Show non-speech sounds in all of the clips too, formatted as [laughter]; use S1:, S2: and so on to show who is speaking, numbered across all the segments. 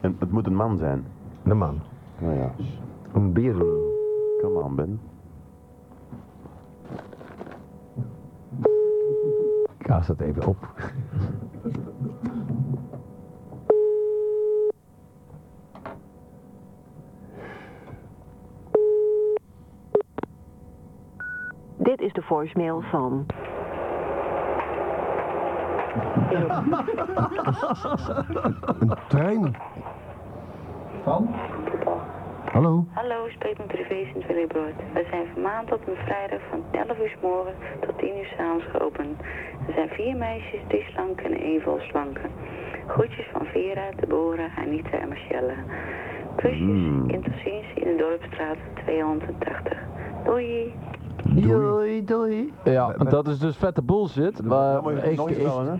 S1: En het moet een man zijn.
S2: De man.
S1: Nou ja,
S2: Een bier.
S1: come on, Ben.
S2: Kaas het even op.
S3: Dit is de voicemail van.
S2: Trein.
S4: Van?
S2: Hallo.
S5: Hallo, spreek met privé sint Willibrood. We zijn van maand tot en met vrijdag van 11 uur 's morgen tot 10 uur 's avonds geopend. Er zijn vier meisjes, die slank en één vol slanke. Groetjes van Vera, Deborah, Anita en Marcella. Kusjes,
S6: Hmm.
S5: en tot ziens in de Dorpstraat 280. Doei!
S7: Doei, doei. Ja, dat is dus vette bullshit. Maar
S1: Dan moet Nou, je
S7: ik,
S1: nog eens
S7: ik-
S1: bellen, hè?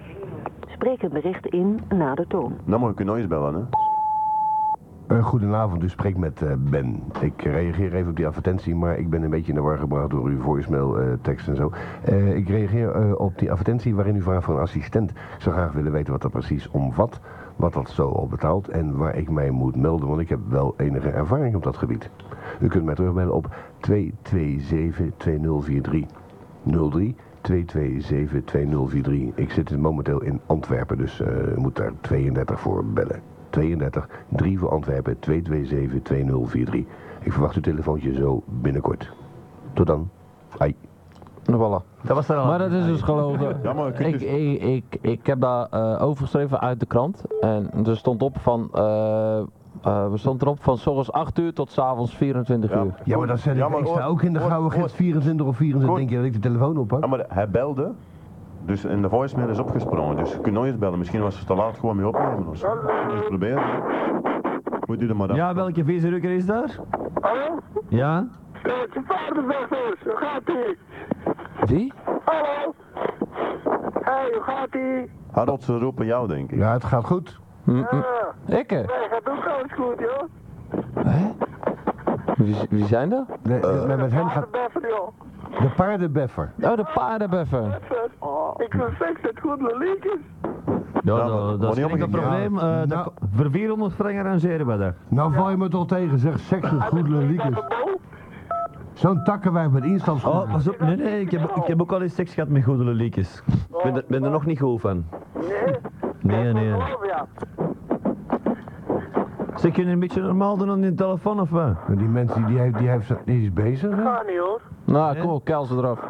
S3: Spreek het bericht in na de toon.
S1: Dan moet ik nog eens bellen, hè?
S6: Eh, goedenavond, u spreekt met eh, Ben. Ik reageer even op die advertentie, maar ik ben een beetje in de war gebracht door uw voicemail eh, tekst en zo. Eh, ik reageer eh, op die advertentie waarin u vraagt voor een assistent. Ik zou graag willen weten wat dat precies omvat, wat dat zo al betaalt en waar ik mij moet melden, want ik heb wel enige ervaring op dat gebied. U kunt mij terugbellen op 227-2043. 03 227 2043. Ik zit momenteel in Antwerpen, dus eh, u moet daar 32 voor bellen. 32 3 voor Antwerpen 227 2043. Ik verwacht uw telefoontje zo binnenkort. Tot dan. Ai.
S7: voilà.
S2: Dat was er al.
S7: Maar dat is dus gelogen.
S1: Ja, maar je kunt
S7: ik,
S1: dus-
S7: ik, ik, ik heb daar eh overgeschreven uit de krant. En er stond op van. eh eh, we stond erop van s ochtends 8 uur tot s avonds 24
S1: Ja.
S7: uur.
S6: Ja, maar dat zet ik.
S1: Ja, maar
S6: ik sta
S1: hoor-
S6: ook in de
S1: hoor-
S6: gouden
S1: hoor-
S6: gids 24 of 24.
S1: Hoor-
S6: Denk je dat ik de telefoon oppak?
S1: Ja, maar hij belde. Dus en de voicemail is opgesprongen. Dus je kunt nog eens bellen. Misschien was het te laat gewoon mee opnemen. Of zo. Kunnen we eens proberen. Moet u er maar af.
S2: Ja, welke vieze is daar?
S8: Hallo?
S2: Ja?
S8: Kijk, paardenvechters, hoe gaat ie?
S7: Wie?
S8: Hallo? Hey, hoe gaat ie?
S1: Harold, ze roepen jou, denk ik.
S6: Ja, het gaat goed.
S8: Ja,
S7: Ikke?
S8: wij gaat ook alles goed, joh.
S7: Wie, wie zijn dat?
S6: De, met, met hem gaat
S8: Paardenbeffer, joh.
S6: Eh, de paardenbeffer.
S7: Oh, de paardenbeffer.
S8: Beffer.
S6: Oh.
S8: Ik wil seks het goed leliekjes.
S2: Ja,
S1: maar-
S2: dat,
S1: maar
S2: dat is
S1: niet
S2: geen enkel
S1: omgekeerd.
S2: probleem. eh, dat-
S6: Nou-
S2: voor 400 frank arrangeren we dat.
S6: Nou val je me toch tegen, zeg seks is goed, leliekes. Zo'n takkenwijf met instapschoenen.
S2: Oh, pas op. Nee, nee, ik heb, ik heb ook al eens seks gehad met goede leliekjes. Ik ben er, ben er nog niet goed van.
S8: Nee,
S2: Nee, nee.
S8: geloof ja.
S2: Zeg, kun je een beetje normaal doen aan die telefoon of wat?
S6: Die mensen die, heeft, die, heeft, die is bezig, hè?
S8: Ga niet, hoor.
S7: Nou, kom op, keil ze eraf.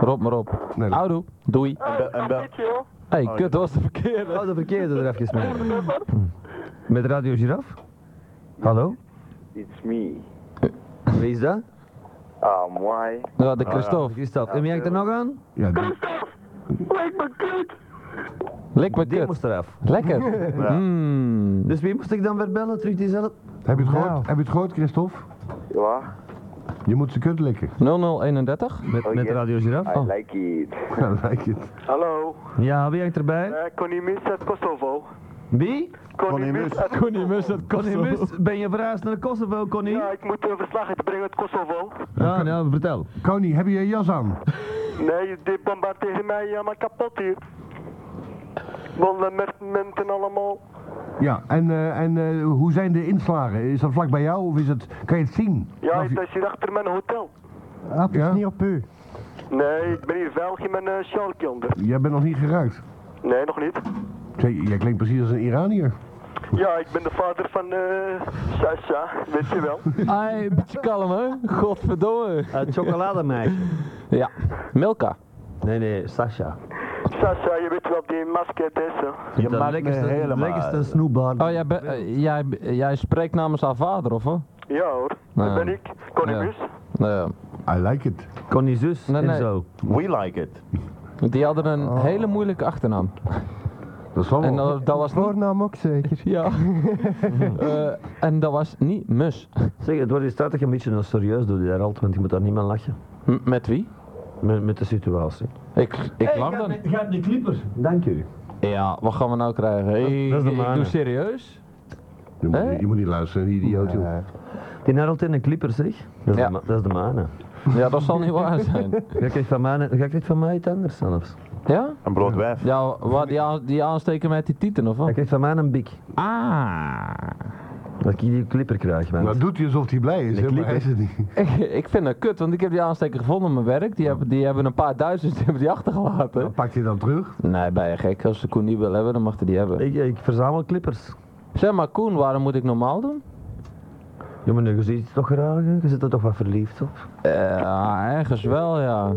S7: Rob maar op.
S6: Nee, dat-
S7: Houdoe. Doei.
S8: Hey,
S1: be- en
S8: en
S1: be-
S8: dit, joh.
S7: Hé, hey, kut, dat was de verkeerde.
S2: Oh, de verkeerde er even mee. Hm. Met Radio Giraf? Hallo?
S9: It's me.
S2: Wie is dat?
S9: Um, why?
S7: Ja, Nou, de Christophe.
S2: Christophe. En wie hangt er nog aan?
S6: Ja, die-
S8: Christophe, lijkt me kut.
S7: Lik me
S2: Die
S7: kut.
S2: moest eraf.
S7: Lekker. Mm.
S2: Dus wie moest ik dan weer bellen? Terug diezelfde?
S6: Heb je het gehoord?
S2: Nou.
S6: Heb je het gehoord, Christophe?
S9: Yeah.
S6: Je moet ze kut likken. [laughs]
S7: 0031.
S10: Oh,
S2: Met, met Radio Giraf?
S9: I like it.
S6: Dan lijkt het.
S8: Hallo,
S2: Ja, wie hangt erbij?
S8: uh, Connie Mus uit Kosovo.
S2: Wie?
S1: Connie Mus.
S8: uit
S7: Connie Mus, dat
S2: Connie Mus, ben je verhuisd naar Kosovo, Connie?
S8: Ja, ik moet een verslag uitbrengen uit Kosovo.
S2: Ja, nou, vertel.
S6: Koning, heb je je jas aan?
S8: Nee, die bombarderen mij helemaal kapot hier. Bombardementen allemaal.
S6: Ja, en, eh, en eh, hoe zijn de inslagen? Is dat vlak bij jou of is het, kan je het zien?
S8: Ja,
S6: Of
S8: het
S6: je-
S8: is hier achter mijn hotel.
S6: ja? niet op u.
S8: Nee, ik ben hier veilig in mijn uh, sjalkje onder.
S6: Jij bent nog niet geraakt.
S8: Nee, nog niet.
S6: Zeg, jij klinkt precies als een Iranier.
S8: Ja, ik ben de vader van eh Sasha, weet je
S7: [laughs]
S8: wel.
S7: Ai, een beetje kalm hè? Godverdomme.
S2: Het chocolademeisje.
S7: Ja, Milka.
S2: Nee, nee, Sasha.
S8: Sasha, je weet wel, die masker is. hè.
S1: Je maakt me helemaal-
S2: lekkerste snoepbaar.
S7: Oh, jij, be- eh, jij, jij spreekt namens haar vader, of? hè?
S8: Ja hoor,
S7: Ja.
S8: dat ben ik, dus. Connie
S7: Ja.
S8: Mus.
S7: Nee,
S6: I like it.
S2: Connie zus
S7: Nee,
S2: en
S7: nee.
S2: zo.
S1: We like it.
S7: die hadden een hele moeilijke achternaam.
S6: Dat zal
S7: En
S6: wel.
S7: dat, dat was niet...
S2: Voornaam ook zeker.
S7: [laughs] Ja. Eh, en dat was niet Mus.
S2: Zeg, het wordt eens tijd dat je een beetje nou serieus doet daar altijd, want je moet daar niet meer lachen.
S7: M- met wie?
S2: Met, met de situatie.
S7: Ik, ik lach dan.
S2: Gaat de clipper. Dank u.
S7: Ja, wat gaan we nou krijgen? Hey,
S2: dat is de
S7: ik doe
S2: mijne.
S7: serieus.
S6: je, moet,
S7: hè?
S6: niet- je moet niet luisteren, die idioot. joh.
S2: Die Harold en de clipper zeg. Dat is,
S7: Ja.
S2: de, ma- dat is de manen.
S7: Ja, dat zal niet waar zijn.
S2: Ga ik van mij, ga ik van mij iets anders zelfs.
S7: Ja?
S1: Een brood wijf.
S7: Ja, wat, die, aan- die aansteken met die tieten, of
S2: Ga
S7: wat?
S2: ik van mij een bik.
S7: Ah. [laughs]
S10: Dat ik hier die clipper krijg, man.
S2: Nou doet hij alsof hij blij is, hè, maar hij is het niet.
S7: Ik, ik vind dat kut, want ik heb die aansteker gevonden in mijn werk. Die hebben, die hebben een paar duizend die hebben die
S2: Dan
S7: achtergelaten.
S2: pakt hij dan terug.
S7: Nee, ben je gek. Als de Koen die wil hebben, dan mag hij die hebben.
S10: Ik, ik verzamel clippers.
S7: Zeg maar, Koen, waarom moet ik normaal doen?
S10: Jongen, nu, je ziet het toch graag, hè? je zit er toch wat verliefd op.
S7: Eh, ergens wel, ja.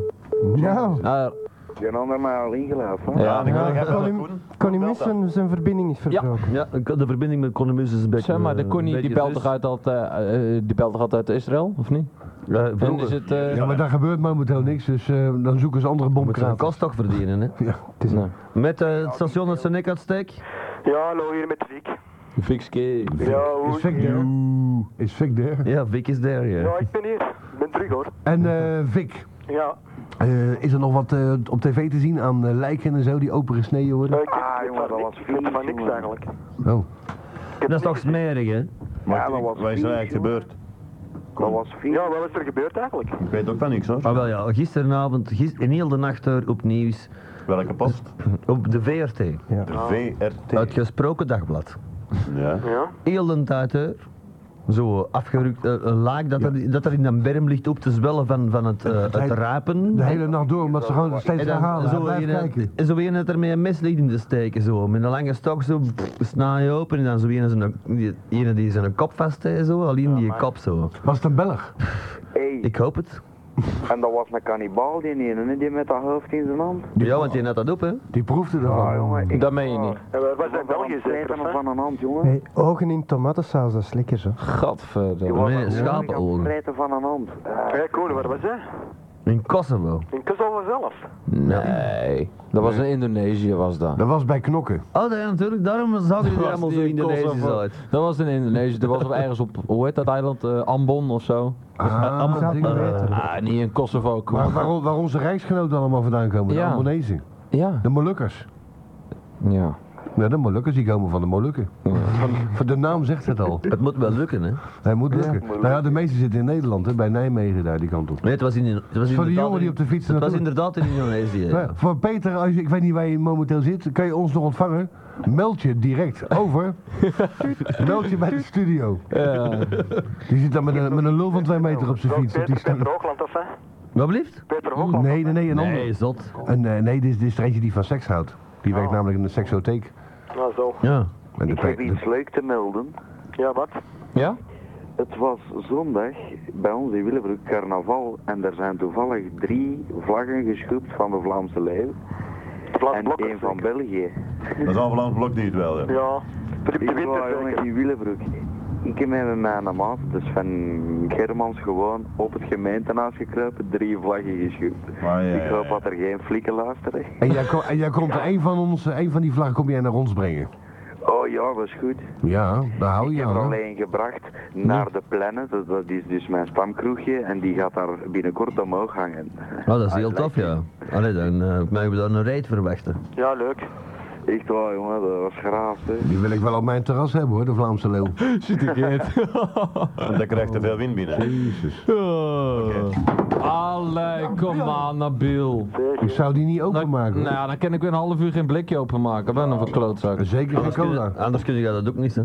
S6: Ja,
S7: Nou,
S8: Je had er maar al ingelopen.
S7: ja.
S6: ja, Connie- Connie Mies zijn, zijn verbinding is verbroken.
S10: Ja, de verbinding met Connemus is een beetje...
S7: Zeg maar, de
S10: eh,
S7: Connie
S10: een
S7: die
S10: beetje
S7: belt
S10: fris.
S7: toch uit, dat, eh, eh, die belt toch altijd uit Israël, of niet?
S10: Ja,
S7: En
S10: vroeger.
S7: is het... eh,
S2: Ja, maar daar gebeurt momenteel niks, dus eh, dan zoeken ze andere
S10: Moet ze hun
S2: bomkraten.
S10: kost toch verdienen, hè?
S2: Ja, het is
S7: nee.
S10: Met eh, het station dat ze nek uitsteek.
S11: Ja, hallo, hier met Riek.
S7: Fikske.
S11: Ja,
S2: Is
S11: hoe
S2: Vic there? Is Vic there?
S10: Ja, Vic is daar, ja.
S11: Ja, ik ben hier. Ik ben terug, hoor.
S2: En eh, Vic,
S11: Ja.
S2: eh, is er nog wat eh, op tv te zien aan eh, lijken en zo die open gesneden
S11: Ja,
S2: worden?
S11: ik
S8: Ah,
S11: weet
S8: jongen,
S11: van
S8: dat
S11: niks.
S8: was
S11: Ik weet
S8: vies,
S11: van niks,
S8: jongen.
S11: eigenlijk.
S2: Oh.
S10: Dat is toch smerig, hè?
S8: Ja, dat was
S1: Wat is er eigenlijk
S8: vies, jongen.
S1: gebeurd?
S8: Dat was vies.
S11: Ja, wat is er gebeurd, eigenlijk?
S1: Ik weet ook van niks hoor.
S10: Ah, wel ja, gisteravond, gis, in heel de nacht daar op nieuws,
S1: Welke post?
S10: op de VRT,
S1: De
S11: Ah.
S1: VRT.
S10: het gesproken dagblad.
S1: Ja.
S11: Ja.
S10: Heel de tijd daar, zo afgerukt, eh, een laak dat, er, dat er in een berm ligt op te zwellen van, van het, eh, het rapen.
S2: De hele nacht door, omdat ze gewoon steeds
S10: En dan
S2: herhalen. Zo
S10: zo
S2: blijf
S10: een,
S2: kijken.
S10: en zo een dat er met een mes ligt in te steken, zo. Met een lange stok, zo, pff, snij open. En dan zo een, zijn- die, ene die zijn kop vast, hè, zo. Alleen die kop, zo.
S2: Was het een Belg?
S8: Hey,
S10: Ik hoop het.
S8: en dat was een kannibaal, die ene, hè, die met dat hoofd in zijn hand.
S10: Ja, want die had dat op, hè.
S2: Die proefde ervan.
S8: Ah, jongen, ik...
S7: Dat meen je niet.
S11: En wij wij zijn België,
S8: België
S11: zeker, of wat?
S8: van een hand, jongen.
S6: Hey, ogen in tomatensaus, dat is lekker zo.
S7: Gadverdamme.
S8: was
S10: Met
S8: aan-
S10: schapenogen.
S8: Vreten van een hand. Eh,
S11: Hé, Koen, waar was hij?
S10: In Kosovo.
S11: In Kosovo zelf.
S7: Nee. Dat was in Indonesië, was dat.
S2: Dat was bij knokken.
S10: Oh, dat ja, natuurlijk. Daarom zag je er allemaal zo Indonesisch uit.
S7: Dat was in Indonesië. Dat was op ergens op, hoe heet dat eiland? Eh, Ambon of zo.
S2: Ah,
S6: Zou ik niet
S2: dingen.
S6: weten.
S7: Ah, niet in Kosovo. kom.
S2: Maar waar, on- waar onze rijksgenoten allemaal vandaan komen, de
S7: Ja.
S2: Albanese,
S7: Ja.
S2: de Molukkers.
S7: Ja.
S2: Ja, de Molukkers die komen van de Molukken. Van- van De naam zegt het al.
S10: Het moet wel lukken, hè.
S2: Hij moet lukken. Nou ja, de meeste zitten in Nederland, hè, bij Nijmegen daar die kant op.
S10: Nee, het was in... Het was
S2: Van die
S10: inderdaad
S2: jongen die
S10: in-
S2: op de fiets
S10: Het was
S2: naartoe.
S10: inderdaad in
S2: [laughs]
S10: Indonesië. ja.
S2: Nou, voor Peter, als je, ik weet niet waar je momenteel zit, kan je ons nog ontvangen? Meld je direct
S10: [laughs]
S2: over. Meld je bij de studio. Die zit dan met een, met een lul van twee meter op zijn
S11: Wel,
S2: fiets. Op die
S11: Peter,
S2: stand.
S11: Peter Hoogland, of hè?
S10: Wat blieft?
S11: Peter Hoogland.
S2: Nee, nee, nee, een ander.
S10: Nee, zot.
S2: Een, eh, nee, dit is, dit is er eentje die van seks houdt. Die werkt namelijk in de seksotheek.
S11: Nou, zo.
S10: Ja.
S2: En de
S8: Oh. Ik heb
S2: pe-
S8: iets leuk te melden.
S11: Ja, wat?
S7: Ja?
S8: Het was zondag bij ons in Willebroek carnaval en er zijn toevallig drie vlaggen geschoept van de Vlaamse leeuw
S11: Vlaams
S8: en
S11: Blok.
S8: één van België.
S1: Dat is al Vlaams Blok die het wel hebben.
S11: Ja. Philippe de
S8: Ik was
S11: Winter, zeker.
S8: jongen in Willebroek. Ik heb met mijn maat, dus van Germans, gewoon op het gemeentehuis gekruipen, drie vlaggen
S10: Ah,
S8: geschoept.
S1: Maar ja,
S8: Ik hoop dat er geen flikken luisteren.
S2: En jij, ko- en jij komt er een van, ons, een van die vlaggen kom jij naar ons brengen.
S8: Oh ja, dat is goed.
S2: Ja, daar hou je
S8: Ik heb er
S2: aan. hè?
S8: alleen gebracht naar de planet, dat- dat is dus mijn stamkroegje, en die gaat daar binnenkort omhoog hangen. Ah,
S10: Oh, dat is heel tof, ja. Allee, dan eh, mogen we daar een reet verwachten.
S11: Ja, leuk.
S8: Echt waar jongen, dat was graaf hè.
S2: Die wil ik wel op mijn terras hebben hoor, de Vlaamse leeuw.
S7: Zit ik in.
S1: Want dat krijgt te veel wind binnen.
S2: Jezus.
S1: Eh.
S2: eh.
S7: Allee, kom aan, Nabil.
S2: Ik zou die niet openmaken.
S7: Nou,
S2: hoor.
S7: ja, dan kan ik weer een half uur geen blikje openmaken. Ben dan een klootzak.
S2: Zeker geen cola.
S10: Anders kun je dat ook niet, hè.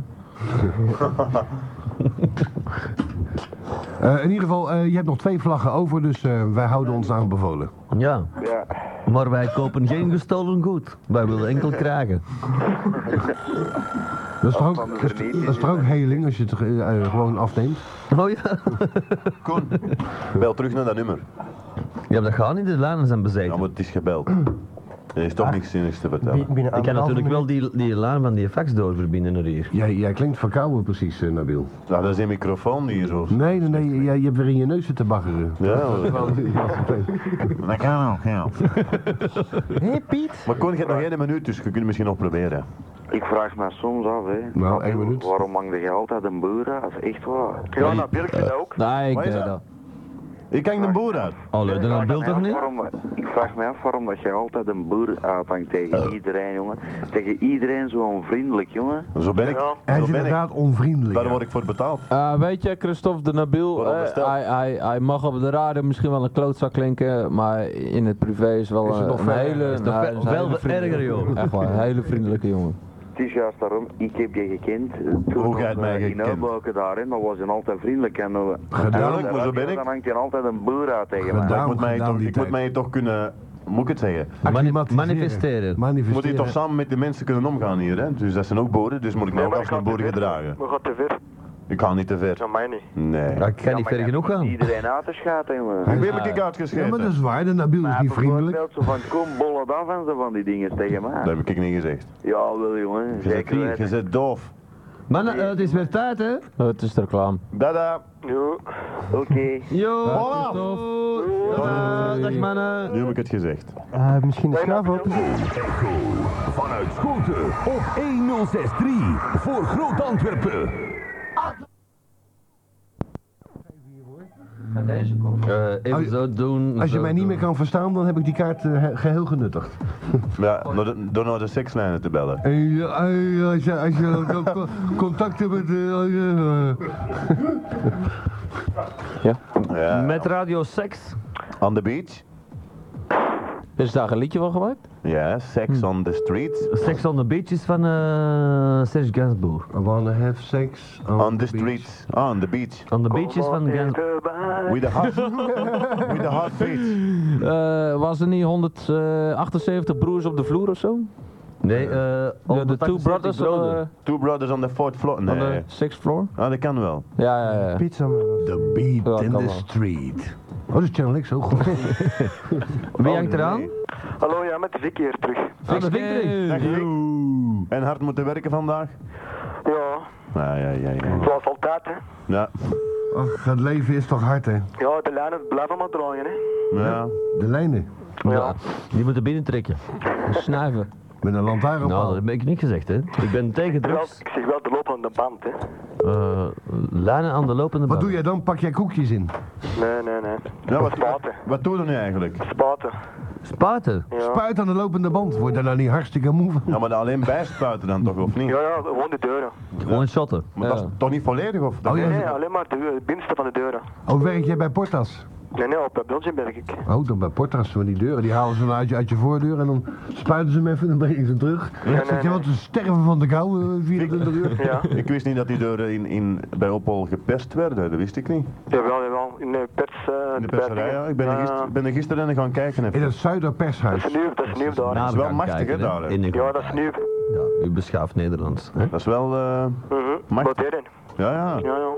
S2: Eh, in ieder geval, eh, je hebt nog twee vlaggen over, dus eh, wij houden ons aanbevolen.
S10: Ja.
S8: Ja.
S10: Maar wij kopen geen gestolen goed. Wij willen enkel
S2: [laughs]
S10: krijgen.
S2: Dat is toch ook,
S8: kan er
S2: dat is-
S8: niet
S2: dat is toch ook heling als je het eh, eh, gewoon afneemt?
S10: Oh ja.
S1: Koen, bel terug naar dat nummer.
S10: Ja, maar dat gaat niet. De lijnen zijn
S1: Ja,
S10: bezeten.
S1: maar het is gebeld. Er is toch
S2: Ah.
S1: niks zinnigs te vertellen.
S6: Bi- binnen
S10: Ik kan
S6: anderhalve
S10: natuurlijk
S6: minuut-
S10: wel die, die lijn van die fax doorverbinden naar hier.
S2: Jij, jij klinkt verkouden precies, eh, Nabil.
S1: Nou, dat is een microfoon die hier zo...
S2: Nee, nee, nee, jij, je hebt weer in je neus zitten baggeren.
S1: Ja, dat-
S2: Dat
S1: kan ook, ja.
S6: hey, Piet.
S1: Maar Koen, je hebt nog één minuut, dus je kunt het misschien nog proberen.
S8: Ik vraag me soms af, hè.
S2: Nou, één minuut.
S8: Waarom hang je altijd een boer uit? Echt waar.
S11: Ja, nou, Birk vindt dat ook.
S7: Nee, ik
S1: Waar is
S7: deed
S1: dat?
S7: dat.
S1: Ik hang de boer uit.
S10: Allee, dan dat beeld toch niet?
S8: Waarom, ik vraag me af waarom dat je altijd een boer uithangt tegen iedereen, jongen. Tegen iedereen zo onvriendelijk, jongen.
S1: Zo ben ik.
S11: Ja.
S2: Hij
S1: Zo
S2: is
S1: ben ik.
S2: inderdaad onvriendelijk.
S1: Daar word ik voor betaald.
S7: Eh, weet je, Christophe de Nabil,
S1: Wat
S7: eh,
S1: ondersteld.
S7: hij, hij, hij mag op de radio misschien wel een klootzak klinken, maar in het privé is wel
S2: Is het
S7: een-
S2: nog
S7: een
S2: veel
S7: hele...
S2: erger?
S10: Is het nog
S7: nee,
S10: veel-
S7: is een hele
S10: wel
S7: vriendelijke-
S10: erger, joh.
S7: Echt waar, een hele vriendelijke jongen.
S9: Het is juist daarom, ik heb je gekend. Eh, Toen
S1: Hoe jij het mij
S9: eh,
S1: gekend?
S9: In Hoboken daarin, dan was je altijd vriendelijk. En, eh,
S1: Gedaan,
S9: en
S1: maar zo ben ik.
S9: Dan hangt je altijd een boer uit tegen
S1: Maar
S9: mij.
S1: ik moet mij, toch, ik moet mij toch kunnen, moet ik het zeggen?
S2: manifesteren.
S1: Moet je toch samen met de mensen kunnen omgaan hier, hè? Dus dat zijn ook boeren, dus moet ik mij ook als een boer gedragen.
S8: We gaan te ver.
S1: Ik ga niet te ver.
S8: Nou, mij niet.
S1: Nee.
S2: Ik kan niet ver genoeg gaan.
S9: Iedereen uit te schaten, jongen.
S1: Ik ben ik uitgeschreven.
S6: Ja, maar dat
S2: dus-
S6: is waar. De Nabil is
S9: Maar
S6: niet vriendelijk.
S9: bijvoorbeeld zo van, kom, bol het af en zo van die dingen tegen mij.
S1: Dat heb ik niet gezegd.
S9: Ja, wel jongen.
S1: Je zit
S9: Zeker
S1: hier, je
S9: weten.
S1: zit doof.
S2: Mannen, eh, het is weer tijd, hè?
S7: het is de reclame.
S1: Dada.
S8: Jo.
S9: Oké.
S2: Yo,
S1: Voilà.
S2: Christophe. Dag, dag mannen.
S1: Nu heb ik het gezegd.
S10: Eh, misschien de schaaf op.
S12: Echo vanuit Schoten op 1063 voor Groot Antwerpen.
S2: Eh, even
S6: Als-
S2: zo doen.
S6: Als je
S2: zo
S6: mij niet
S2: doen.
S6: meer kan verstaan, dan heb ik die kaart eh, he- geheel genuttigd.
S1: Ja, door de- door naar de sekslijnen te bellen.
S6: eh, als je, als je contact hebt met... eh,
S1: Ja.
S2: Met Radio 6.
S1: On the beach?
S7: Is daar een liedje van gemaakt?
S1: Ja, sex on the streets.
S2: Sex on the Beach is van eh, Serge Gainsbourg.
S6: I wanna have sex on,
S1: On the
S6: the beach.
S1: streets. Ah, On the beach.
S2: On the Beach is van
S8: Eh,
S2: Gainsbourg.
S1: With a heart. With a heart beat.
S7: Eh, was er niet 178 broers op de vloer of zo?
S2: Nee, eh
S7: De, de Two Brothers eh,
S1: Two brothers on the fourth floor.
S7: van de
S1: Nee.
S7: Sixth Floor?
S1: Ah, dat kan wel.
S7: Ja, ja, ja.
S10: Pizza. man.
S12: The beat
S7: Ja,
S12: in
S7: kan
S12: the
S7: wel.
S12: street.
S6: Oh, dat is Channel X, ook goed.
S2: Wie hangt eraan?
S1: Oh, Nee.
S8: Hallo, ja, met Vicky hier terug.
S2: Fix Victory.
S1: Dag, Rick. En hard moeten werken vandaag?
S8: Ja,
S1: Ah, ja, ja, ja.
S8: zoals altijd, hè.
S1: Ja,
S6: [laughs] Ach, het leven is toch hard, hè?
S8: Ja, de lijnen blijven maar draaien, hè.
S1: ja.
S6: De lijnen.
S8: Ja.
S2: Die moeten binnentrekken.
S7: Snuiven.
S6: Met een lantaarn op.
S2: Nou, dat heb ik niet gezegd, hè. Ik ben tegen
S8: Terwijl,
S2: drugs.
S8: ik zeg wel de lopende band, hè.
S2: eh, lijnen aan de lopende
S6: Wat
S2: band.
S6: doe jij dan? Pak jij koekjes in.
S8: Nee, nee, nee.
S1: Ja, wat,
S8: Spaten.
S1: wat doe je nu eigenlijk?
S8: Spaten.
S2: Spuiten.
S8: Ja.
S6: Spuit aan de lopende band. Word daar nou niet hartstikke moe van?
S1: Ja, maar dan alleen bijspuiten dan toch, of niet?
S8: Ja, ja, gewoon de deuren.
S2: Gewoon shotten.
S1: Maar dat is toch niet volledig, of?
S6: Oh, ja.
S8: Nee, alleen maar de, de binnenste van de deuren.
S6: Oh, werk jij bij Portas?
S8: Nee, nee, op België merk ik.
S6: Oh, dan bij Portas. Van die deuren. Die halen ze dan uit je, uit je voordeur en dan spuiten ze hem even en dan brengen ze hem terug.
S8: nee,
S6: Zeg je
S8: nee.
S6: wat, ze sterven van de kou eh, 24 uur.
S8: [laughs] Ja.
S1: [laughs] Ik wist niet dat die deuren in, in, bij Opel geperst werden, dat wist ik niet.
S8: Jawel, jawel. In de pers. eh,
S1: In de
S8: bij
S1: perserij,
S8: dingen.
S1: ja. Ik ben er,
S8: Ja.
S1: gisteren, ben er gisteren in gaan kijken.
S6: In
S1: Even.
S6: het Zuiderpershuis.
S8: Dat is nieuw, dat is nieuw daar. hè.
S1: Nou, is wel machtig, hè, daar, hè?
S8: Ja, dat is nieuw. Mhm.
S2: Ja, u beschaaft Nederlands. Hè?
S1: Dat is wel... eh, Mag-
S8: Modern.
S1: ja, ja.
S8: Ja, ja.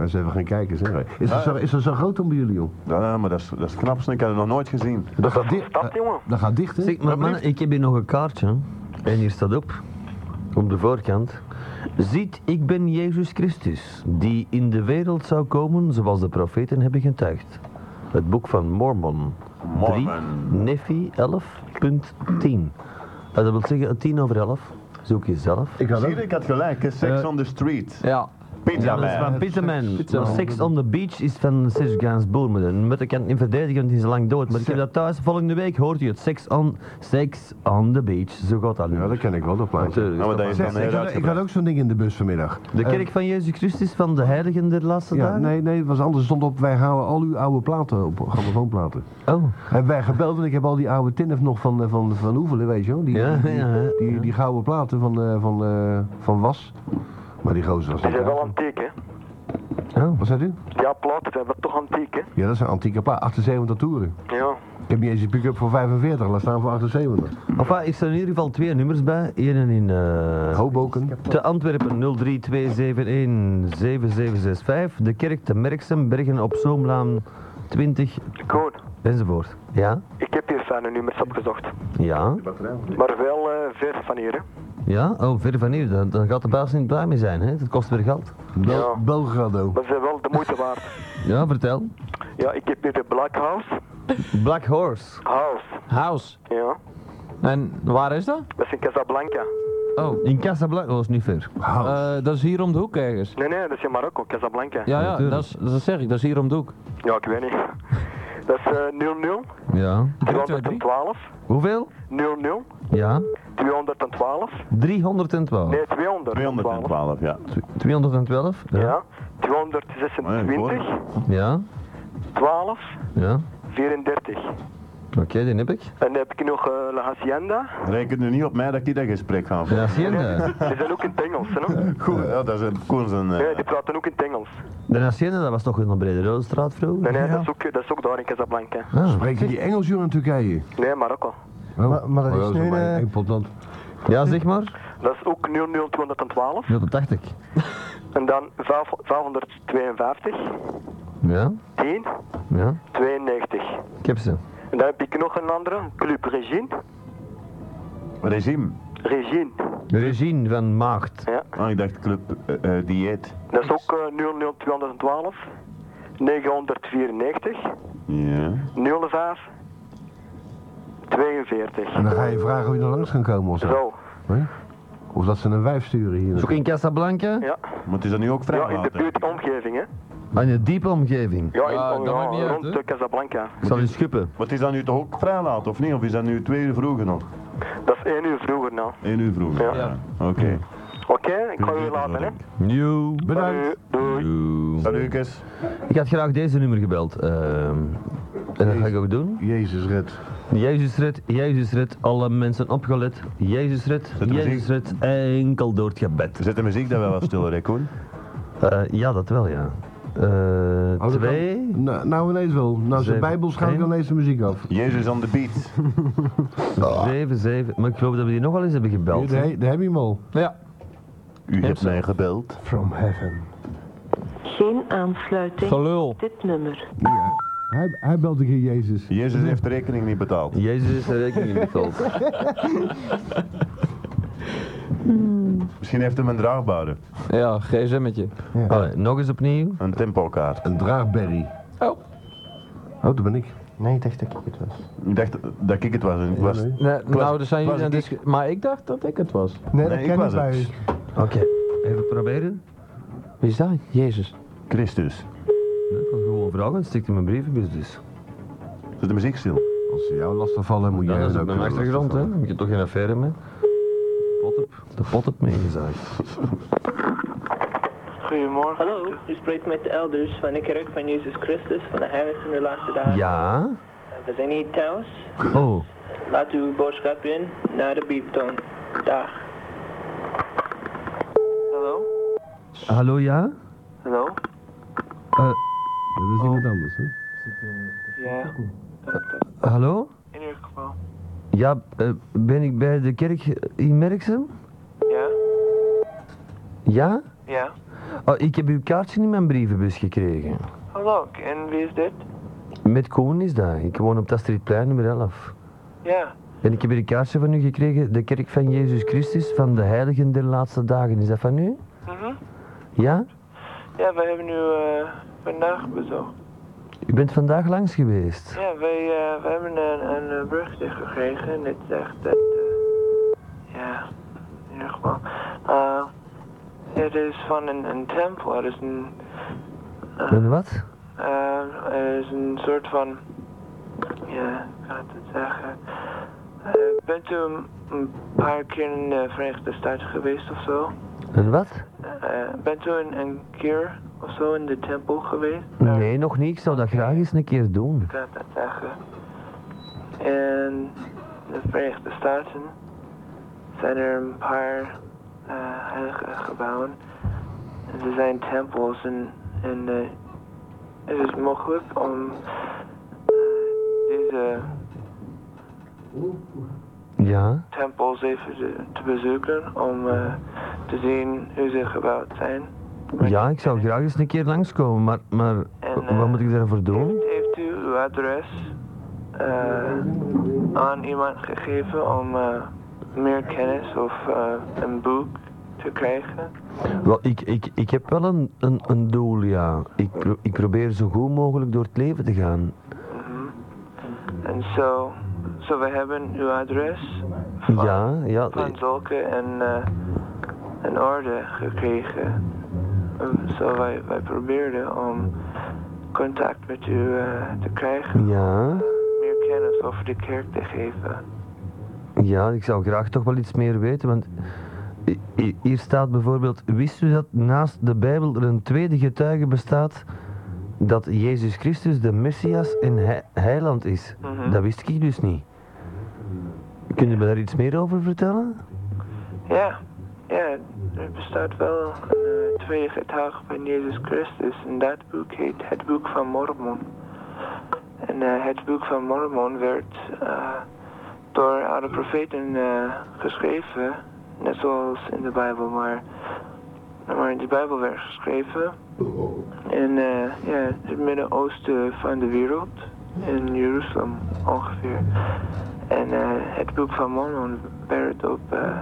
S6: Als ze even gaan kijken, zeg. Is dat zo, is dat zo groot dan bij jullie, joh?
S1: ja, maar dat is, dat is knap, ik heb het nog nooit gezien.
S6: Dat gaat dicht.
S1: Eh.
S8: Stap, jongen.
S6: Dat gaat dicht, hè?
S2: Zeg, maar mannen, ik heb hier nog een kaartje. En hier staat op, op de voorkant. Ziet, ik ben Jezus Christus, die in de wereld zou komen zoals de profeten hebben getuigd. Het boek van Mormon. 3,
S1: Mormon.
S2: Nephi 11.10. Eh, Dat wil zeggen, 10 over 11. Zoek jezelf.
S6: Ik had
S1: Zie
S6: ook... Eh,
S1: je, ik had gelijk, hè. Sex on the street.
S7: Ja.
S1: Pizza
S2: Ja, dat is
S1: man.
S2: van Pizzaman.
S6: Pizza
S2: Maar
S6: Man.
S2: Sex on the Beach is van Serge Gainsbourg. Maar dat moet ik kan het niet verdedigen, want die is lang dood. Maar ik heb dat thuis. Volgende week hoort u het. Sex on, sex on the Beach. Zo gaat dat nu.
S6: Ja, dat ken ik wel, dat plaatje.
S2: Natuurlijk.
S1: Nou, maar dat is
S6: Zeg,
S1: dan heel
S6: ik, had, ik had
S1: uitgebreid.
S6: ook zo'n ding in de bus vanmiddag.
S2: De kerk van Jezus Christus van de heiligen der laatste
S6: Ja,
S2: dagen?
S6: nee, nee, het was anders. stond op, wij halen al uw oude platen op, grammofoonplaten.
S2: Oh,
S6: Hebben wij gebeld, want ik heb al die oude tinnef nog van, eh, van, van Oevelen, weet je wel. Die,
S2: Ja,
S6: die,
S2: ja, ja.
S6: die, die, gouden platen van, eh, van, eh, van Was. Maar die gozer was
S8: Die
S6: niet
S8: zijn wel
S6: uit.
S8: antiek, hè.
S2: oh.
S6: Wat zei u?
S8: Ja, platen zijn wel toch antiek, hè.
S6: Ja, dat zijn antieke platen. 78 toeren.
S8: Ja.
S6: Ik heb niet eens een pick-up voor 45, laat staan voor 78.
S2: Enfin, ik stel in ieder geval twee nummers bij. Eén in eh,
S6: Hoboken.
S2: te Antwerpen 032717765. De kerk te Merksem, Bergen op Zoomlaan 20
S8: Koen,
S2: enzovoort. Ja?
S8: ik heb hier fijne nummers opgezocht.
S2: Ja?
S8: Maar wel eh, ver van hier, hè.
S2: Ja? Oh, verder van hier. Dan, dan gaat de baas niet blij mee zijn, hè? Dat kost weer geld.
S6: Bel-
S8: Ja.
S6: Belgrado.
S8: Maar ze zijn wel de moeite waard.
S2: Ja, vertel.
S8: Ja, ik heb hier de Black House.
S2: Black Horse.
S8: House.
S7: House.
S8: Ja.
S7: En waar is dat?
S8: Dat is in Casablanca.
S2: Oh. In Casablanca, dat is niet ver.
S7: Eh, dat is hier om de hoek ergens.
S8: Nee, nee, dat is in Marokko, Casablanca.
S7: Ja, ja,
S2: natuurlijk.
S7: dat, is, dat zeg ik. Dat is hier om de hoek.
S8: Ja, ik weet niet. Dat is eh, 00
S2: Ja.
S8: 212
S2: Hoeveel?
S8: 00
S2: Ja.
S8: 212
S2: 312.
S8: Nee, 200.
S1: 212, ja.
S2: 212?
S8: Ja.
S1: Oh ja,
S8: 226
S2: Ja,
S8: 12
S2: ja.
S8: 34.
S2: Oké, die heb ik.
S8: En heb ik nog eh, La Hacienda.
S1: Reken nu niet op mij dat ik die dat gesprek ga voeren.
S8: Die zijn ook in het Engels, hè?
S1: [laughs] Goed, ja, dat is een koers een... eh,
S8: Ja, die praten ook in het Engels.
S2: De Hacienda, dat was toch in de Brede Rode straat vroeger?
S8: Nee, nee, dat, is ook, dat is ook daar in Casablanca.
S6: Spreken die Engels hier in Turkije? Oh,
S8: Nee, Marokko.
S2: Oh.
S6: Maar,
S2: dat is nu, eh, Ja, zeg maar.
S8: Dat is ook 00212.
S2: 080.
S8: En dan 5 552,
S2: Ja,
S8: 10,
S2: ja.
S8: 92.
S2: Ik heb ze.
S8: En dan heb ik nog een andere, Club Regine.
S1: Regime.
S8: Regine,
S2: Regine van Maagd.
S8: Ja.
S1: Ah, ik dacht club eh, eh, dieet.
S8: dat is ook eh, 00212, 994,
S1: Ja.
S8: 05, 42.
S6: En dan ga je vragen hoe je er langs kan komen of zo.
S8: Zo.
S6: Hé? Of dat ze een wijf sturen hier.
S2: Is ook in Casablanca?
S8: Ja.
S1: Maar het is dat nu ook
S8: Ja, in de
S1: vrijwater?
S8: buurt omgeving, hè?
S2: Maar in een diepe omgeving.
S8: Ja, in, ja, rond eh, Casablanca.
S2: Ik zal u schuppen.
S1: Wat is dat nu toch ook vrijlaat of niet? Of is dat nu twee uur vroeger nog?
S8: Dat is één uur vroeger nou.
S1: Eén uur vroeger?
S8: Ja.
S1: Oké.
S8: Oké, ik ga u laten, hè?
S2: Nieuw.
S1: Bedankt.
S2: Doei.
S1: Salut, Kees.
S2: Ik had graag deze nummer gebeld. ehm, en dat ga ik ook doen.
S6: Jezus red.
S2: Jezus red, Jezus red, alle mensen opgelet. Jezus red,
S1: de
S2: Jezus red, enkel door het gebed.
S1: Zet de muziek dan wel wat stiller, hè, Koen?
S2: Eh, ja, dat wel, ja. Eh,
S6: Oh, dat
S2: twee.
S6: kan- Nou, nou ineens wel. Nou, zijn
S2: Zeven.
S6: bijbels gaan ik
S2: Eén.
S6: dan deze muziek af.
S1: Jezus on the beat.
S2: 7, 7. Maar ik geloof dat we die nog wel eens hebben gebeld. hè?
S6: Daar heb je hem al.
S7: Ja.
S1: U hebt mij gebeld.
S6: From heaven.
S3: Geen aansluiting
S7: Gelul.
S3: op dit nummer.
S6: Ja. Hij, hij belt een keer Jezus.
S1: Jezus heeft de rekening niet betaald.
S2: Jezus is de rekening [laughs] betaald.
S1: Misschien heeft hem een draagbare.
S7: Ja, gsm'tje.
S2: Allee, nog eens opnieuw.
S1: Een tempokaart.
S6: Een draagberry.
S7: Oh.
S6: Oh, dat ben ik.
S10: Nee, ik dacht dat ik het was.
S1: Ik dacht dat ik het was. en ik was...
S6: nee.
S7: Nee, nou, er zijn
S1: was
S7: jullie aan
S1: het
S7: discu- Maar ik dacht dat ik het was.
S10: Nee,
S1: Nee,
S10: dat
S1: ik
S10: ken
S1: was
S10: ik bij
S1: het.
S10: u.
S2: Oké, even proberen.
S7: Wie is dat? Jezus.
S1: Christus.
S2: Nee, Ik was gewoon vragen, het stikt in mijn brievenbus dus.
S1: Zet de muziek stil.
S6: Als ze jou lastig vallen, moet
S2: Ja,
S6: jij
S2: dat
S6: hen
S2: is op
S6: ook
S2: mijn
S6: kunnen
S2: achtergrond, hè.
S6: lastigvallen.
S2: Daar heb je toch geen affaire mee. Pot op. De pot op meegezaagd.
S8: Goedemorgen.
S13: Hallo, u spreekt met de elders van de kerk van Jezus Christus van de heilige van de laatste dagen.
S2: Ja?
S13: We zijn hier thuis.
S2: Oh,
S13: Laat uw boodschap in naar de bieptoon. Dag.
S8: Hallo?
S2: hallo ja? Eh,
S8: Hallo?
S6: Dat is iemand anders, hè?
S8: Ja,
S2: Hallo?
S8: in ieder geval.
S2: Ja, eh, ben ik bij de kerk in Merksem?
S8: Ja?
S2: Ja?
S8: Ja?
S2: Oh, ik heb uw kaartje in mijn brievenbus gekregen.
S8: Hallo, en wie is dit?
S2: Met Koen is dat. Ik woon op Tastridplein nummer 11.
S8: Ja.
S2: En ik heb hier een kaartje van u gekregen, de kerk van Jezus Christus, van de heiligen der laatste dagen. Is dat van u?
S8: Mhm.
S2: Ja?
S8: Ja, wij hebben nu eh, vandaag bezocht.
S2: U bent vandaag langs geweest.
S8: Ja, wij, eh, wij hebben een, een eh, berichtje gekregen en dit zegt dat... eh, ja, in ieder geval. eh, het is van een, een tempel, het is een... eh,
S2: En wat?
S8: Eh, er is een soort van. Ja, ik kan het zeggen. Eh, bent u een- een paar keer in de Verenigde Staten geweest of zo?
S2: En wat?
S8: Eh, bent u een, een keer of zo in de tempel geweest?
S2: Nee, nog niet. Ik zou dat graag eens een keer doen.
S8: Ik kan het zeggen. In de Verenigde Staten zijn er een paar eh, heilige gebouwen. En ze zijn tempels en, en eh, het is mogelijk om eh, deze
S2: Ja?
S8: tempels even te, te bezoeken om eh, te zien hoe ze gebouwd zijn.
S2: Ja, ik zou graag eens een keer langskomen, maar, maar
S8: En,
S2: wat
S8: eh,
S2: moet ik daarvoor doen?
S8: Heeft u uw adres eh, aan iemand gegeven om eh, meer kennis of eh, een boek te krijgen?
S2: Wel, ik, ik, ik heb wel een, een, een doel, ja. Ik, pro- ik probeer zo goed mogelijk door het leven te gaan.
S8: En zo, zo we hebben uw adres
S2: Ja, ja.
S8: van zulke en eh, een orde gekregen. Eh, Zo wij, wij probeerden om contact met u eh, te krijgen,
S2: Ja,
S8: meer kennis over de kerk te geven.
S2: ja, ik zou graag toch wel iets meer weten, want i- i- hier staat bijvoorbeeld, wist u dat naast de Bijbel er een tweede getuige bestaat dat Jezus Christus de Messias en he- heiland is.
S8: Mhm.
S2: Dat wist ik dus niet. Kun je me daar iets meer over vertellen?
S8: Ja, ja, er bestaat wel een eh, tweede getuige van Jezus Christus. En dat boek heet Het Boek van Mormon. En eh, het Boek van Mormon werd eh, door oude profeten eh, geschreven, net zoals in de Bijbel, maar, nou, maar de Bijbel werd geschreven in eh, ja, het Midden-Oosten van de wereld, in Jeruzalem ongeveer. En eh, het Boek van Mormon werd op... eh,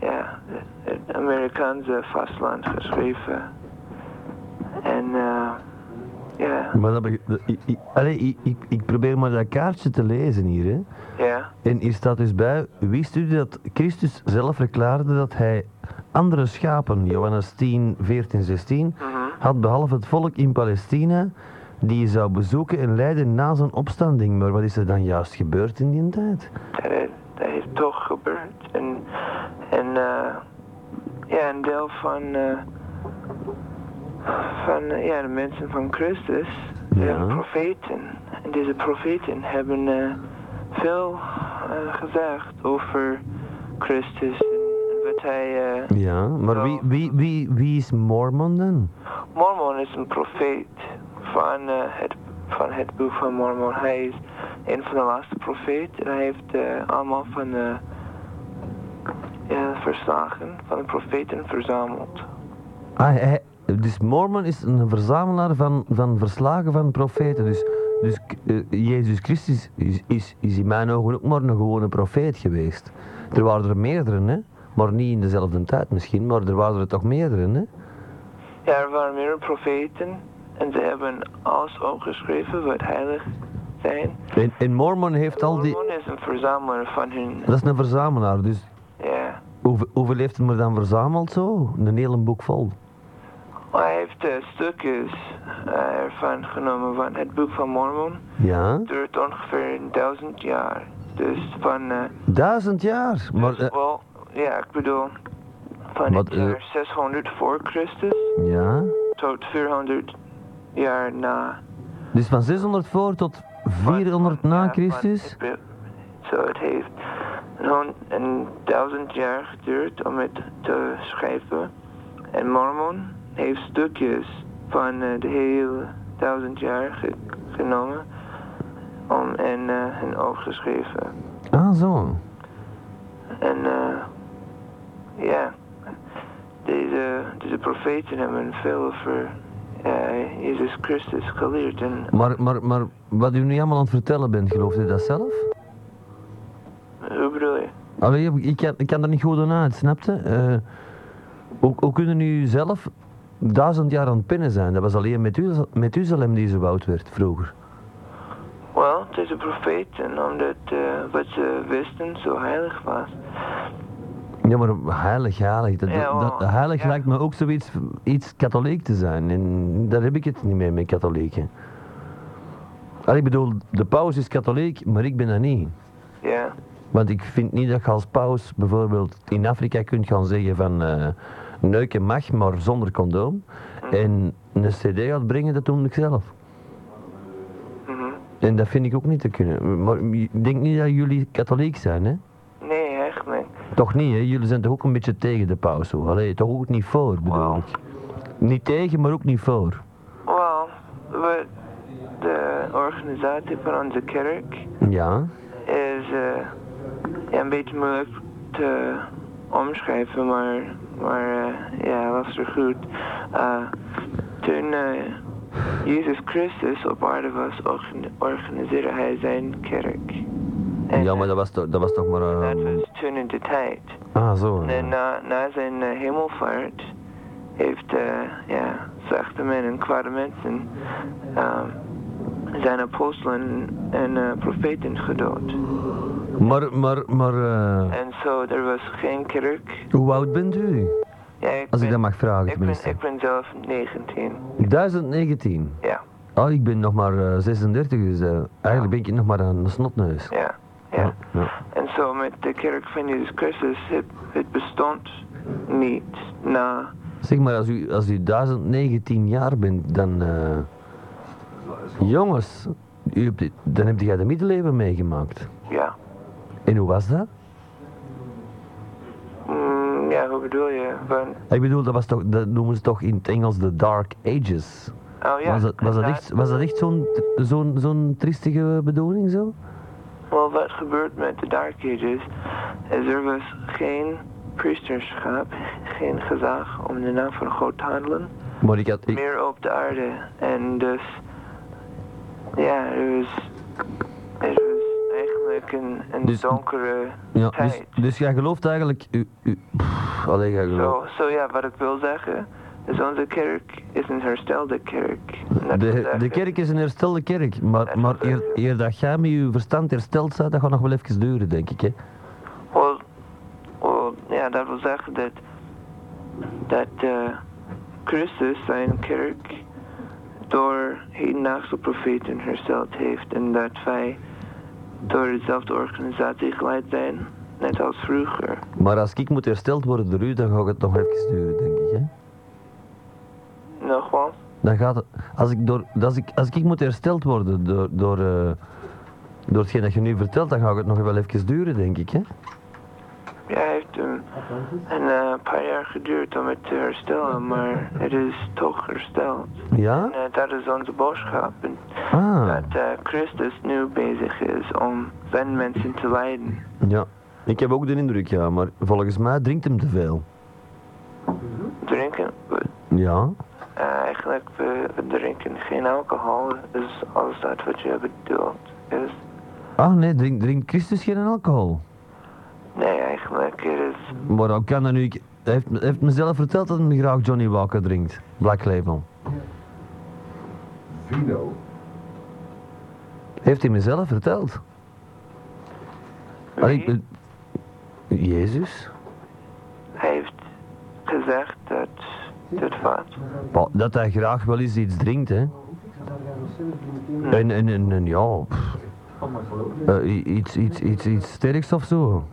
S8: ja, het Amerikaanse vasteland geschreven. En eh, ja,
S2: Maar dat beg- dat- ik, ik- allee, ik, ik, ik probeer maar dat kaartje te lezen hier. Hè.
S8: ja,
S2: En hier staat dus bij, wist u dat Christus zelf verklaarde dat hij andere schapen, Johannes 10, 14, 16, had behalve het volk in Palestina, die je zou bezoeken en leiden na zijn opstanding. Maar wat is er dan juist gebeurd in die tijd?
S8: dat, is- dat is toch gebeurd. En, en eh, ja, een deel van, eh, van eh, ja, de mensen van Christus, de profeten, en deze profeten hebben eh, veel eh, gezegd over Christus en wat hij... eh,
S2: Ja, maar wie, wie, wie, wie is Mormon dan?
S8: Mormon is een profeet van, eh, het, van het boek van Mormon. Hij is een van de laatste profeten. En hij heeft eh, allemaal van de ja, verslagen van de profeten verzameld.
S2: Ah, hij- dus Mormon is een verzamelaar van, van verslagen van profeten. Dus, dus eh, Jezus Christus is, is, is in mijn ogen ook maar een gewone profeet geweest. Er waren er meerdere, hè? maar niet in dezelfde tijd misschien, maar er waren er toch meerdere. Hè?
S8: Ja, er waren meer profeten en ze hebben alles opgeschreven wat heilig zijn.
S2: En, en Mormon heeft al die.
S8: Mormon is een verzamelaar van hun.
S2: Dat is een verzamelaar, dus
S8: Ja.
S2: hoeveel, hoeveel heeft hem er dan verzameld zo? Een hele boek vol.
S8: Maar hij heeft eh, stukjes eh, ervan genomen van het boek van Mormon.
S2: Ja?
S8: duurt ongeveer duizend jaar. Dus van, eh,
S2: Duizend jaar! Maar, eh,
S8: wel, ja, ik bedoel, van
S2: Wat,
S8: het
S2: eh,
S8: jaar 600 voor Christus
S2: ja?
S8: tot 400 jaar na.
S2: Dus van 600 voor tot 400 na Christus?
S8: Het be- Zo, het heeft een hon- een duizend jaar geduurd om het te schrijven. En Mormon heeft stukjes van eh, de hele duizend jaar ge- genomen om, en, eh en opgeschreven.
S2: Ah, zo.
S8: En eh, ja, deze, deze profeten hebben veel over eh, Jezus Christus geleerd. En
S2: Maar, maar, maar wat u nu allemaal aan het vertellen bent, gelooft u dat zelf?
S8: hoe bedoel je?
S2: Allee, ik kan, ik kan er niet goed aan uit, snap je? Eh, hoe, hoe kunnen u zelf duizend jaar aan het pinnen zijn? Dat was alleen met, u, met Uzalem die zo oud werd vroeger.
S8: Wel, deze profeten, omdat eh, wat ze wisten zo heilig was.
S2: Ja, maar heilig, heilig. Dat,
S8: Ja,
S2: dat,
S8: wel,
S2: heilig lijkt me ook zoiets iets katholiek te zijn. En daar heb ik het niet mee met katholieken. Allee, ik bedoel, de paus is katholiek, maar ik ben dat niet.
S8: Ja,
S2: Want ik vind niet dat je als paus bijvoorbeeld in Afrika kunt gaan zeggen van eh, neuken mag, maar zonder condoom. En een cd gaat brengen, dat doe ik zelf. En dat vind ik ook niet te kunnen. Maar ik denk niet dat jullie katholiek zijn, hè?
S8: nee, echt niet.
S2: Toch niet, hè? Jullie zijn toch ook een beetje tegen de paus, hoor. Allee, toch ook niet voor, bedoel ik. Niet tegen, maar ook niet voor.
S8: Wel, wat de organisatie van onze kerk
S2: Ja.
S8: is eh, ja, een beetje moeilijk te omschrijven, maar, maar eh, ja, luister goed. Eh, toen eh, Jezus Christus op aarde was, organ- organiseerde hij zijn kerk.
S2: Ja, maar dat was toch, dat was toch maar... eh,
S8: Toen in de tijd.
S2: Ah, zo. ja.
S8: En na, na zijn eh, hemelvaart heeft eh, ja, zachte men en kwade mensen ehm, zijn apostelen en eh, profeten gedood.
S2: Maar, maar, maar... eh,
S8: En zo, er was geen kerk.
S2: hoe oud bent u?
S8: Ja, ik
S2: Als ik
S8: ben,
S2: dat mag vragen,
S8: ik ben,
S2: tenminste.
S8: ik ben zelf 19.
S2: 2019?
S8: Ja.
S2: Oh, ik ben nog maar eh, 36, dus eh, eigenlijk ben ik nog maar een snotneus.
S8: Ja,
S2: ja. ja.
S8: En zo met de kerk van Jezus Christus, het, het bestond niet na.
S2: Zeg maar, als u, als u 1019 jaar bent, dan... eh, Jongens, u hebt dit- dan heb jij de middeleeuwen meegemaakt.
S8: Ja.
S2: En hoe was dat?
S8: Mm, ja, hoe bedoel je? Van,
S2: Ik bedoel, dat, was toch, dat noemen ze toch in het Engels de Dark Ages.
S8: Oh ja,
S2: Was dat, was dat
S8: ja.
S2: echt, was dat echt zo'n zo'n zo'n triestige bedoeling zo?
S8: wel, wat gebeurt met de Dark Ages? Is er was geen priesterschap, geen gezag om de naam van God te handelen.
S2: Maar ik had, ik,
S8: meer op de aarde. En dus, ja, het was, het was eigenlijk een, een donkere
S2: Dus- ja, dus,
S8: tijd.
S2: dus jij gelooft eigenlijk... U, u, pff, allee, jij
S8: Zo,
S2: gelooft...
S8: zo ja, wat ik wil zeggen, is onze kerk is een herstelde kerk.
S2: De, de kerk is een herstelde kerk, maar, maar eer, eer dat jij met je verstand hersteld bent, dat gaat nog wel even duren, denk ik. Hè?
S8: Wel, wel, ja, dat wil zeggen dat, dat eh, Christus zijn kerk door hedendaagse profeten hersteld heeft en dat wij door dezelfde organisatie geleid zijn, net als vroeger.
S2: Maar als ik moet hersteld worden door u, dan gaat het nog even duren, denk ik. Hè?
S8: Nogmaals,
S2: Dan gaat het, als, ik door, als, ik, als ik moet hersteld worden door, door, eh, door hetgeen dat je nu vertelt, dan gaat het nog wel even duren, denk ik. Hè?
S8: ja, het heeft een, een eh, paar jaar geduurd om het te herstellen, maar het is toch hersteld.
S2: Ja?
S8: En eh, dat is onze boodschap. En
S2: Ah,
S8: dat eh, Christus nu bezig is om zijn mensen te leiden.
S2: ja. Ik heb ook de indruk, ja, maar volgens mij drinkt hem te veel.
S8: Drinken,
S2: Ja?
S8: eh, eigenlijk, we, we drinken geen alcohol, dus als dat wat je bedoelt is.
S2: Ah nee, drinkt drinkt Christus geen alcohol?
S8: Nee, eigenlijk, het is.
S2: Maar hoe kan dat nu? Ik- Hij heeft, hij heeft mezelf verteld dat hij graag Johnny Walker drinkt. Black Label.
S6: Vino.
S2: Heeft hij mezelf verteld? Allee, ik ben- Jezus?
S8: Hij heeft gezegd dat. Dit wat?
S2: Wel, Dat hij graag wel eens iets drinkt, hè? En, en, en, en ja, pff, eh, i- iets, iets, iets, iets sterks of zo.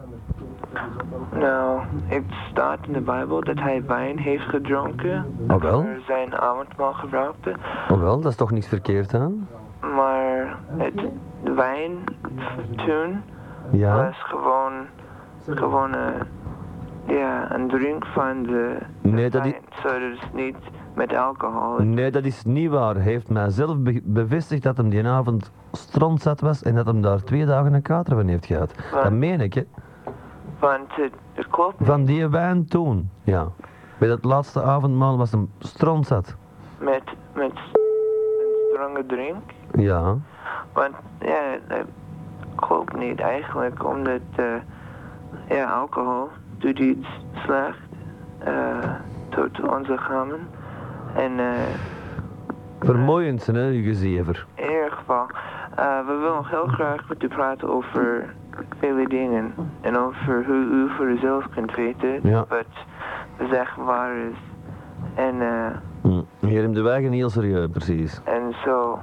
S8: Nou, het staat in de Bijbel dat hij wijn heeft gedronken.
S2: Ah, wel?
S8: Voor zijn avondmaal gebruikte.
S2: Oh wel, dat is toch niks verkeerd aan?
S8: Maar het de wijn toen
S2: Ja?
S8: was gewoon. Gewoon een. Ja, een drink van de.
S2: Nee dat, is,
S8: Zo, dus niet met alcohol.
S2: nee, dat is niet waar. Hij heeft mij zelf be- bevestigd dat hem die avond strandzat was en dat hem daar twee dagen een kater van heeft gehad. Dat meen ik, hè?
S8: Want het, het klopt
S2: Van die wijn toen, ja. Bij dat laatste avondmaal was hem strandzat.
S8: met, met een strenge drink.
S2: Ja.
S8: Want ja, dat klopt niet eigenlijk, omdat eh, ja, alcohol doet iets slecht eh, tot onze lichamen. En eh,
S2: Vermoeiend, hè, je gezever.
S8: in ieder geval, eh, we willen heel graag met u praten over vele dingen. En over hoe u voor uzelf kunt weten
S2: Ja.
S8: wat zeg waar is. En, eh,
S2: Hm. Hier in de wagen heel serieus, precies.
S8: en zo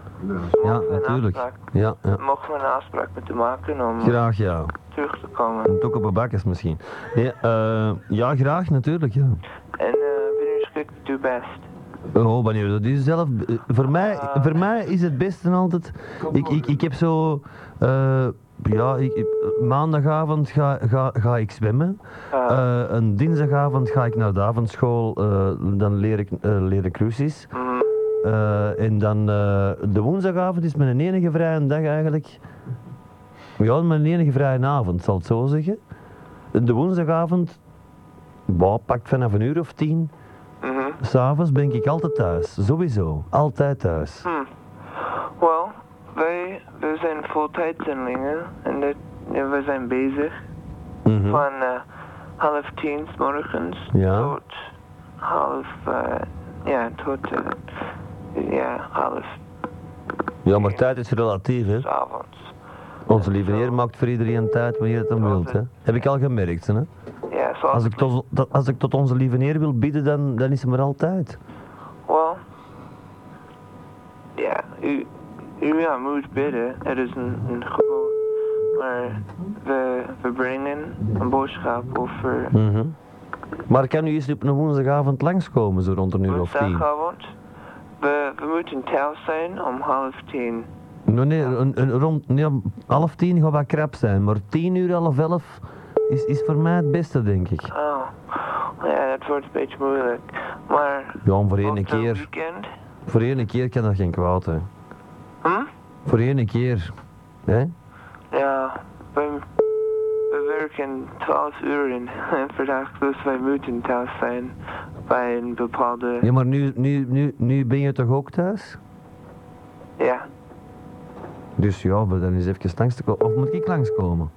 S2: Ja, natuurlijk. Ja, ja.
S8: mogen we een afspraak met u maken om
S2: Graag, ja.
S8: terug te komen.
S2: En ook op een bakjes misschien. Nee, eh, ja, graag, natuurlijk, ja.
S8: En eh, wanneer schikt het u best?
S2: Oh, wanneer dat is zelf. eh, voor, mij, voor mij is het beste altijd. Ik, ik, ik heb zo. eh, ja, ik, ik- maandagavond ga, ga, ga ik zwemmen. Eh, een dinsdagavond ga ik naar de avondschool. eh, dan leer ik eh, leren cruises. Eh, en dan eh, de woensdagavond is mijn enige vrije dag eigenlijk. Ja, mijn enige vrije avond, zal ik het zo zeggen. De woensdagavond, bah, pakt vanaf een uur of tien. S'avonds ben ik altijd thuis, sowieso. Altijd thuis.
S8: Hm. Wel, wij, wij zijn voltijdzendelingen en dat, en we zijn bezig
S2: Mhm.
S8: van eh, half tien 's morgens
S2: Ja.
S8: tot half, eh, ja, tot, eh, ja, half
S2: Ja, maar tijd is relatief, hè.
S8: avonds.
S2: Onze lieve heer maakt voor iedereen tijd wanneer het hem wilt, hè. Heb ik al gemerkt, hè.
S8: Ja, zoals
S2: Als ik tot, dat- als ik tot onze lieve heer wil bidden, dan, dan is hem er altijd.
S8: Wel, ja, u, u ja, moet bidden. Het is een, een gewoon. Maar we, we brengen een boodschap over
S2: Mhm. Maar kan u eens op een woensdagavond langskomen, zo rond een uur of tien?
S8: woensdagavond. We, we moeten thuis zijn om half tien.
S2: Nou nee, een, een, rond nee, om half tien gaat wat krap zijn, maar tien uur, half elf is, is voor mij het beste, denk ik.
S8: Oh, ja, dat wordt een beetje moeilijk. Maar
S2: Ja, voor één
S8: op het
S2: keer.
S8: weekend?
S2: Voor één keer kan dat geen kwaad, hè.
S8: Hm?
S2: Voor één keer. Hè?
S8: Ja, we, we werken 12 [laughs] uren per dag, dus wij moeten thuis zijn bij een bepaalde.
S2: Ja, maar nu, nu, nu, nu ben je toch ook thuis?
S8: Ja.
S2: Dus ja, maar dan is even langs te komen. Of moet ik langskomen?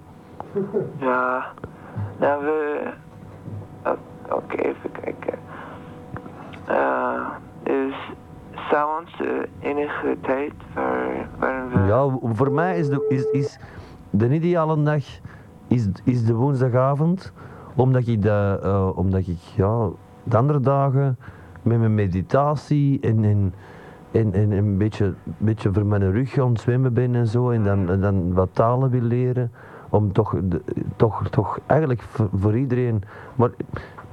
S8: Ja. Nou, we. o- Oké, even kijken. Eh is s'avonds de enige tijd waar, waar we.
S2: Ja, w- voor mij is de, is, is de ideale dag is, is de woensdagavond. Omdat ik, de, eh, omdat ik ja, de andere dagen met mijn meditatie en, en, en, en een beetje, beetje voor mijn rug aan het zwemmen ben en zo. En dan, en dan wat talen wil leren. Om toch, de- toch, toch eigenlijk voor, voor iedereen. Maar ik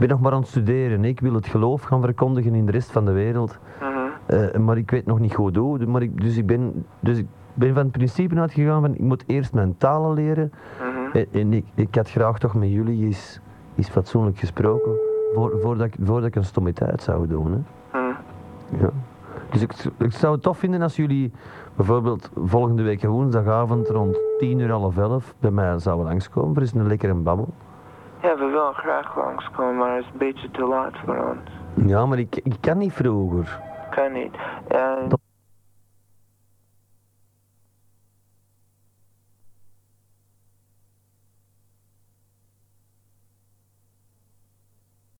S2: ben nog maar aan het studeren. hè. Ik wil het geloof gaan verkondigen in de rest van de wereld.
S8: Mhm.
S2: Eh, maar ik weet nog niet goed hoe. Maar ik, dus, ik ben, dus ik ben van het principe uitgegaan van ik moet eerst mijn talen leren. En, en ik, ik had graag toch met jullie eens, eens fatsoenlijk gesproken voor, voordat, ik, voordat ik een stommiteit zou doen. Hè. Ja. Dus ik, ik zou het tof vinden als jullie bijvoorbeeld volgende week woensdagavond rond 10 uur half 11 bij mij zouden langskomen. Er is een lekkere babbel.
S8: Ja, we willen graag langskomen, maar het is een beetje te laat voor ons.
S2: Ja, maar ik, ik kan niet vroeger.
S8: Kan niet. En